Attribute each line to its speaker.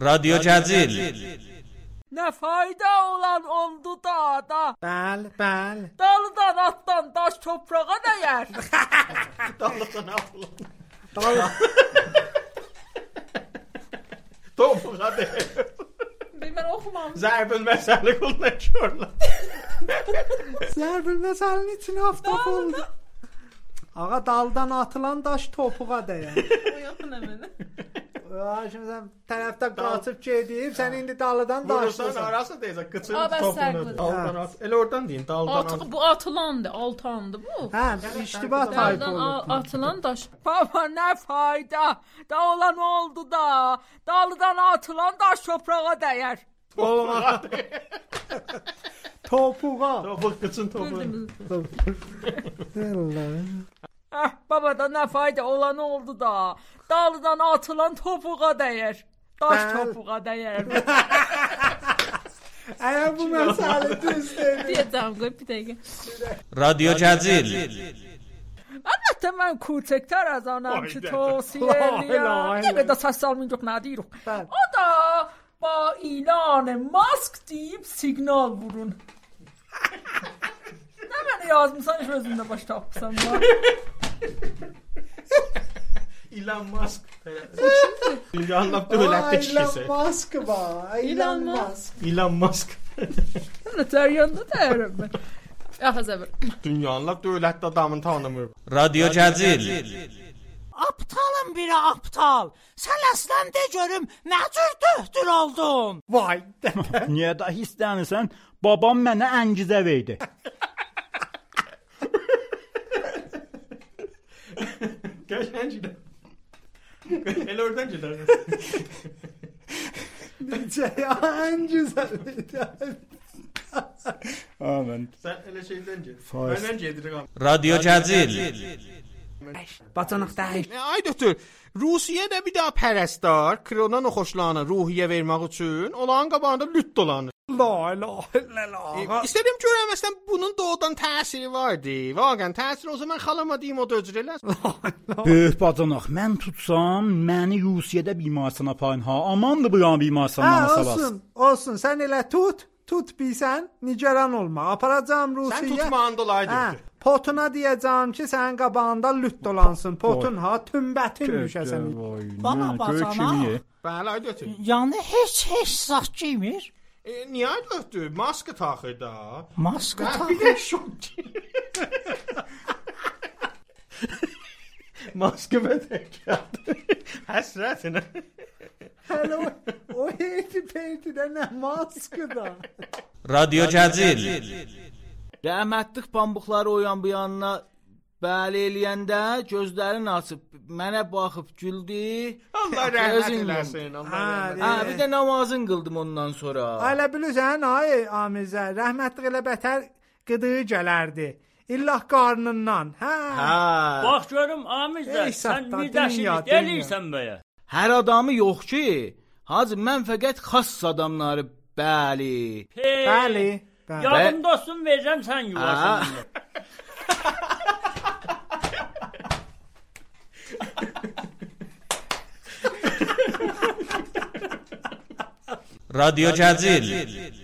Speaker 1: رادیو جزیل
Speaker 2: Ne fayda olan oldu dağda.
Speaker 3: بل بل
Speaker 2: Daldan attan daş toprağa değer.
Speaker 4: Topuğa değer.
Speaker 2: ben okumam.
Speaker 4: Zerbül mesele kullanıyorlar.
Speaker 3: ضرب المثلin içine aftap oldu. Ağa daldan atılan daş topuğa değer.
Speaker 2: Uyanın hemen.
Speaker 3: Ya şimdi sen tərəfdə qaçıb gedib, sən indi dalıdan
Speaker 4: Vurursan
Speaker 3: daşdırsan.
Speaker 4: arası deyəcək qıçın
Speaker 2: Aa, ben
Speaker 4: topunu.
Speaker 2: Serpil.
Speaker 4: Daldan at. Elə oradan deyin daldan at.
Speaker 5: At, bu atılandı, altandı bu.
Speaker 3: Hə, iştibah tayfı
Speaker 5: Daldan a-
Speaker 3: olub.
Speaker 5: atılan daş.
Speaker 2: Baba ne fayda. Da olan oldu da. Daldan atılan daş toprağa değer.
Speaker 4: Olmaz.
Speaker 3: Topuğa.
Speaker 4: Topuq qıçın topunu.
Speaker 3: Allah.
Speaker 2: Eh baba da ne fayda olan oldu da. Daldan atılan topuğa değer. Daş
Speaker 3: Ben-
Speaker 2: topuğa değer.
Speaker 3: Əgər bu məsələ düz deyil.
Speaker 5: Diyeceğim koy bir şey. dakika.
Speaker 1: رادیو جزیل
Speaker 2: Əlbəttə mən küçüklər az anam ki
Speaker 4: Vay dədə.
Speaker 2: tövsiyə
Speaker 3: Lay, lay,
Speaker 2: eləyirəm. Nə
Speaker 3: lay.
Speaker 2: qədər səs almayacaq nə deyirik.
Speaker 3: Bəli.
Speaker 2: O da ba ilan mask deyib siqnal vurun. Nə mənə yazmısan heç özündə baş tapmısan.
Speaker 4: Elon Musk. Dünyanın lap dövlətdə kişisi.
Speaker 3: Elon Musk var. Elon
Speaker 5: Elon
Speaker 3: Musk.
Speaker 4: Elon Musk.
Speaker 2: Nə təriyanda dəyərəm mən.
Speaker 5: Aha sabır.
Speaker 4: Dünyanın lap dövlətdə adamını tanımır.
Speaker 1: رادیو جزیل
Speaker 6: Aptalın biri aptal. Sən əslən de görüm nə cür döhdür oldun?
Speaker 3: Vay.
Speaker 7: Niyə də hissdənirsən? Babam mənə əngizə verdi.
Speaker 4: Qəşəng gidə. Elə oradan gedər.
Speaker 3: Ən gözəl.
Speaker 7: Amin.
Speaker 4: Sən elə şeydən ged.
Speaker 7: Faiz.
Speaker 4: Məndən gedirik amma.
Speaker 1: رادیو جزیل
Speaker 3: Bacanaq dəyiş.
Speaker 4: Ay doktor, Rusiyədə bir daha pərəstər krona noxoşlanı ruhiyyə vermək üçün olan qabağında lüt dolanır.
Speaker 3: La la la la.
Speaker 4: E, İstədim görəm məsələn bunun doğudan təsiri vardı. Vaqən təsir olsa mən xalama deyim o da özür eləsin.
Speaker 7: Böyük bacanaq, mən tutsam, məni Rusiyada bimarxana aparın ha. Amandır bu yan bimarxananı
Speaker 3: Hə,
Speaker 7: salas.
Speaker 3: olsun, olsun. Sən elə tut, tut bilsən, nigeran olma. Aparacağam
Speaker 4: Sən
Speaker 3: Rusiyaya.
Speaker 4: tutmağın dolaydı.
Speaker 3: Hə, potuna deyəcəm ki, sənin qabağında lüt dolansın. Potun ha, tümbətin düşəsən.
Speaker 7: Bana
Speaker 6: Bana bacanaq.
Speaker 4: Bəli, ay doktor.
Speaker 6: Yəni heç heç zat giymir.
Speaker 4: E, niyə ay doktor? Maska taxır da.
Speaker 6: Maska
Speaker 4: Hə, bir
Speaker 6: taxır.
Speaker 4: də şok. Maska bədəkədir. Həsrətinə.
Speaker 3: Hələ o- o heydi peytidə nə maskıda.
Speaker 1: رادیو جزیل
Speaker 8: Rəhmətlik pambuqları o yan bu yanına bəli eləyəndə gözlərini açıb mənə baxıb güldü.
Speaker 4: Allah rəhmət eləsin. Allah rəhmət.
Speaker 8: Hə, bir də namazın qıldım ondan sonra.
Speaker 3: Hələ bilirsən, ay Amizə, rəhmətli elə bətər qıdığı gələrdi. İllah qarnından. Hə.
Speaker 8: Hə.
Speaker 9: Bax görüm Amizdə,
Speaker 3: Ey
Speaker 9: sən
Speaker 3: satda,
Speaker 9: bir
Speaker 3: dünya,
Speaker 9: dəşilik
Speaker 3: dünya.
Speaker 9: eləyirsən bəyə.
Speaker 8: Hər adamı yox ki. Hacı mən fəqət xass adamları bəli.
Speaker 9: Hey,
Speaker 3: Bəli. Bəli.
Speaker 9: Yardım dostum verirəm sən yuvasını.
Speaker 1: رادیو جزیل